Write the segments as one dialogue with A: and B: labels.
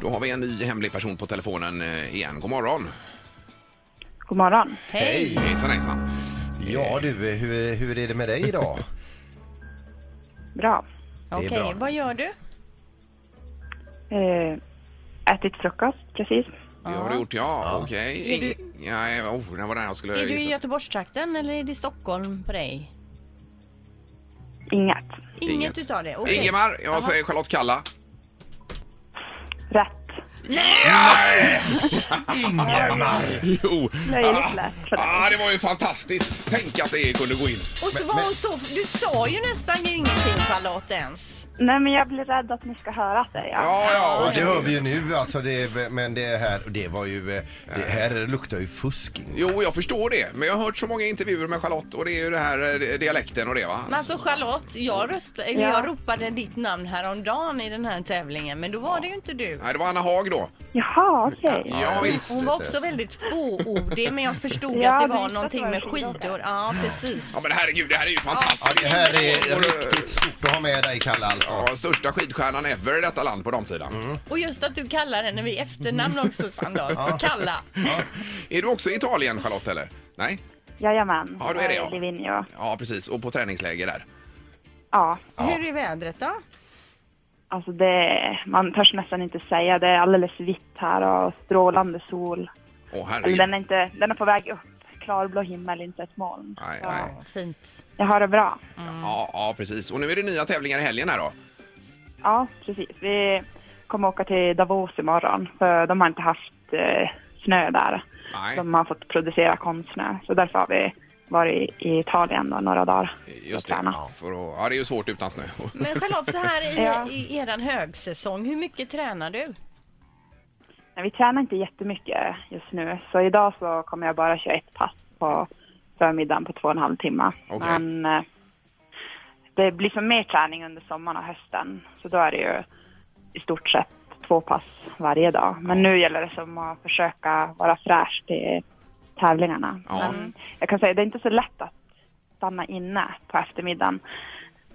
A: Då har vi en ny hemlig person på telefonen eh, igen. God morgon.
B: God morgon.
A: Hej! Hejsan hejsan.
C: Ja du, hur, hur är det med dig idag?
B: Bra.
C: är
D: Okej,
C: bra.
D: vad gör du?
B: Eh, ätit frukost precis.
A: Det har du gjort, ja. Okej.
D: Är du-
A: Ing- Nej, oh, det var den jag skulle
D: Är du i
A: gissa.
D: Göteborgstrakten eller är det Stockholm på dig?
B: Inget.
D: Inget, utav det? Okej.
A: Ingemar, jag säger Charlotte Kalla.
B: Rätt.
C: Ingemar!
A: Jo!
B: Löjligt lätt för dig.
A: Ah, det var ju fantastiskt! Tänk att det kunde gå in.
D: Och så var hon så... Du sa ju nästan ingenting Charlotte ens.
B: Nej, men jag blir rädd att ni ska höra att det är jag.
A: Ja, ja.
C: Ja,
A: och-
C: det hör vi ju nu alltså, det, men det här, det var ju, eh, det här luktar ju fusk. Ingemar.
A: Jo, jag förstår det. Men jag har hört så många intervjuer med Charlotte och det är ju det här eh, dialekten och det va?
D: Men alltså Charlotte, jag, röstade, eller
B: Ja.
D: jag ropade ditt namn häromdagen i den här tävlingen men då var det ju inte du.
A: Nej, det var Anna Haag då.
B: Jaha, okej.
A: Ja, visst.
D: Hon var också väldigt fåordig men jag förstod
B: Ja,
D: att det
B: du
D: var
B: visste
D: någonting
B: att det
D: med
B: var en
D: skidor. Ja, precis.
A: Ja men herregud, det här är ju
C: Ja,
A: fantastiskt!
C: det här är
A: Och, eh,
C: riktigt stort att ha med dig Kalle alltså.
A: Ja, största skidstjärnan ever i detta land på
C: Mm.
A: damsidan.
D: Och just att du kallar henne vid efternamn också Sandal. Kalla.
A: Är du också i Italien Charlotte eller? Nej?
B: Jajamän. Eh,
A: Ja, då är det
B: Jag
A: jag.
B: Livigno.
A: Ja precis, och på träningsläger där.
B: Ja,
D: Hur är vädret då?
B: alltså det, man törs nästan inte säga. Det är alldeles vitt här och strålande sol.
A: Åh
B: Eller
A: herregud.
B: den är inte, den är på väg upp. Klarblå himmel, inte ett moln.
A: Nej,
B: Så
A: nej.
D: Fint.
B: Jag har det bra.
A: Ja, ja precis. Och nu är det nya tävlingar i helgen här då.
B: Ja, precis. Vi kommer åka till Davos imorgon för de har inte haft eh, snö där.
A: Nej.
B: De har fått producera konstsnö. Så därför har vi varit i Italien då, några dagar.
A: Just
B: och
A: det.
B: tränat.
A: Ja, för att, ja, det är ju svårt utan snö.
D: Men Charlotte, så här i,
B: Ja.
D: i eran högsäsong, hur mycket tränar du?
B: Men vi tränar inte jättemycket just nu. Så idag så kommer jag bara köra ett pass på förmiddagen på två och en halv timme.
A: Okej.
B: Men eh, det blir som mer träning under sommaren och hösten. Så då är det ju i stort sett två pass varje dag. Men nu gäller det som att försöka vara fräsch till tävlingarna.
A: Ja.
B: Men jag kan säga det är inte så lätt att stanna inne på eftermiddagen.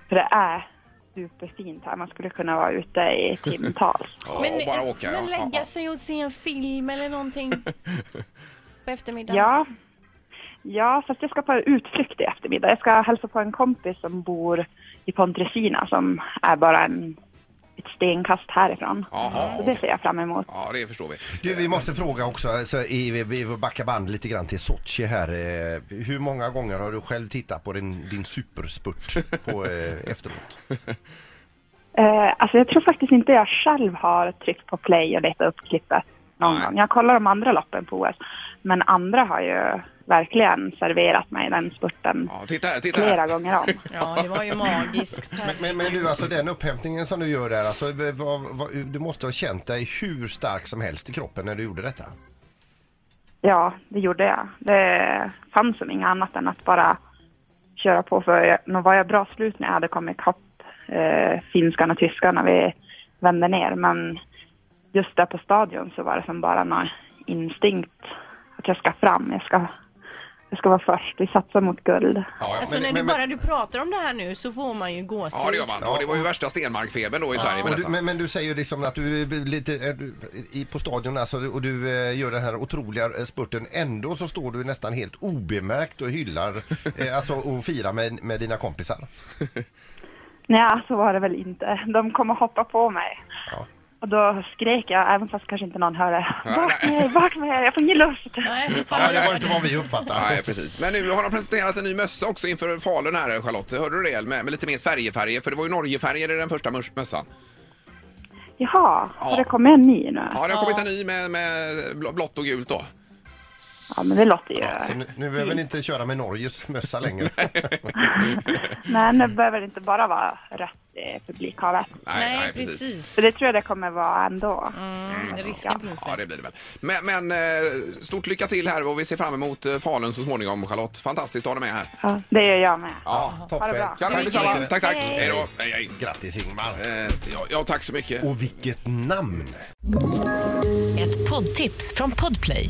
B: För det är superfint här. Man skulle kunna vara ute i timtals.
A: Ja, och bara åka. ja.
D: men lägga
A: Ja,
D: sig och se en film eller någonting på eftermiddagen?
B: Ja. Ja, fast jag ska på utflykt i eftermiddag. Jag ska hälsa på en kompis som bor i Pontresina som är bara en, ett stenkast härifrån.
A: Jaha,
B: så
A: okej.
B: det ser jag fram emot.
A: ja, det förstår vi.
C: Du, vi måste fråga också, alltså, i, vi- vi får backa band lite grann till Sochi här. eh, Hur många gånger har du själv tittat på din, din superspurt på eh, efteråt?
B: Eh, alltså jag tror faktiskt inte jag själv har tryckt på play och letat upp klippet någon
A: Nej.
B: gång. Jag kollar de andra loppen på OS, men andra har ju verkligen serverat mig den spurten
A: Ja, titta här, titta
B: flera
A: här.
B: gånger om.
D: Ja, det var ju magiskt.
C: Men, men, men du, alltså den upphämtningen som du gör där, alltså, v- vad, vad, du måste ha känt dig hur stark som helst i kroppen när du gjorde detta.
B: Ja, det gjorde jag. Det fanns som inget annat än att bara köra på. För jag, nog var jag bra slut när jag hade kommit ikapp eh, finskan och tyskan när vi vände ner. Men just där på stadion så var det som bara någon instinkt att jag ska fram. Jag ska, jag ska vara först. Vi satsar mot guld.
C: Ja,
D: Alltså när du bara du pratar om det här nu så får man ju gåshud.
A: Ja, det gör man. Och det var ju värsta stenmarkfebern då i Sverige med
C: men, du,
A: detta.
C: men, men du säger ju liksom att du är lite är du, i, på stadion alltså, och du eh, gör den här otroliga eh, spurten. Ändå så står du nästan helt obemärkt och hyllar eh, alltså, och firar med, med dina kompisar.
B: Nej, så var det väl inte. De kom och hoppade på mig.
C: Ja.
B: Och då skrek jag, även fast kanske inte någon hörde.
A: Ja,
B: Bak
A: nej.
B: med er, bak med er, jag får ingen luft.
D: Nej,
C: Ja, det var inte vad vi uppfattade.
A: Nej, precis. Men nu har de presenterat en ny mössa också inför Falun här, Charlotte. Hörde du det? Med, med lite mer Sverigefärger, för det var ju Norgefärger i den första mörs- mössan.
B: Jaha,
A: Ja.
B: har det kommit en ny nu?
A: Ja, det har kommit en ny med, med bl- blått och gult då.
B: Ja, men det låter ju...
C: Så nu, nu behöver ni inte köra med Norges mössa längre.
B: Men det behöver inte bara vara rött i publikhavet.
D: nej, precis.
B: För det tror jag det kommer vara ändå.
D: Mm, risken finns
A: Ja,
D: väl.
A: det blir det väl. Men, men eh, stort lycka till här och vi ser fram emot eh, Falun så småningom, Charlotte. Fantastiskt att ha dig med här.
B: Ja, det gör jag med.
C: Ja,
B: Ha det
C: toppen.
B: bra.
A: Kanon, detsamma.
C: Hej.
A: Tack, tack.
D: Hej.
A: Hej då. Hej, hej.
C: Grattis Ingmar.
A: Eh, ja, ja, tack så mycket.
C: Och vilket namn!
E: Ett poddtips från Podplay.